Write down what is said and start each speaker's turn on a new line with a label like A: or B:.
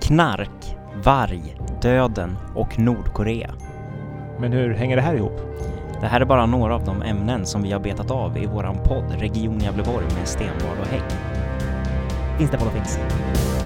A: knark, varg, döden och Nordkorea.
B: Men hur hänger det här ihop?
A: Det här är bara några av de ämnen som vi har betat av i våran podd Region Gävleborg med Stenvard och Hägg.
C: Finns det vad finns?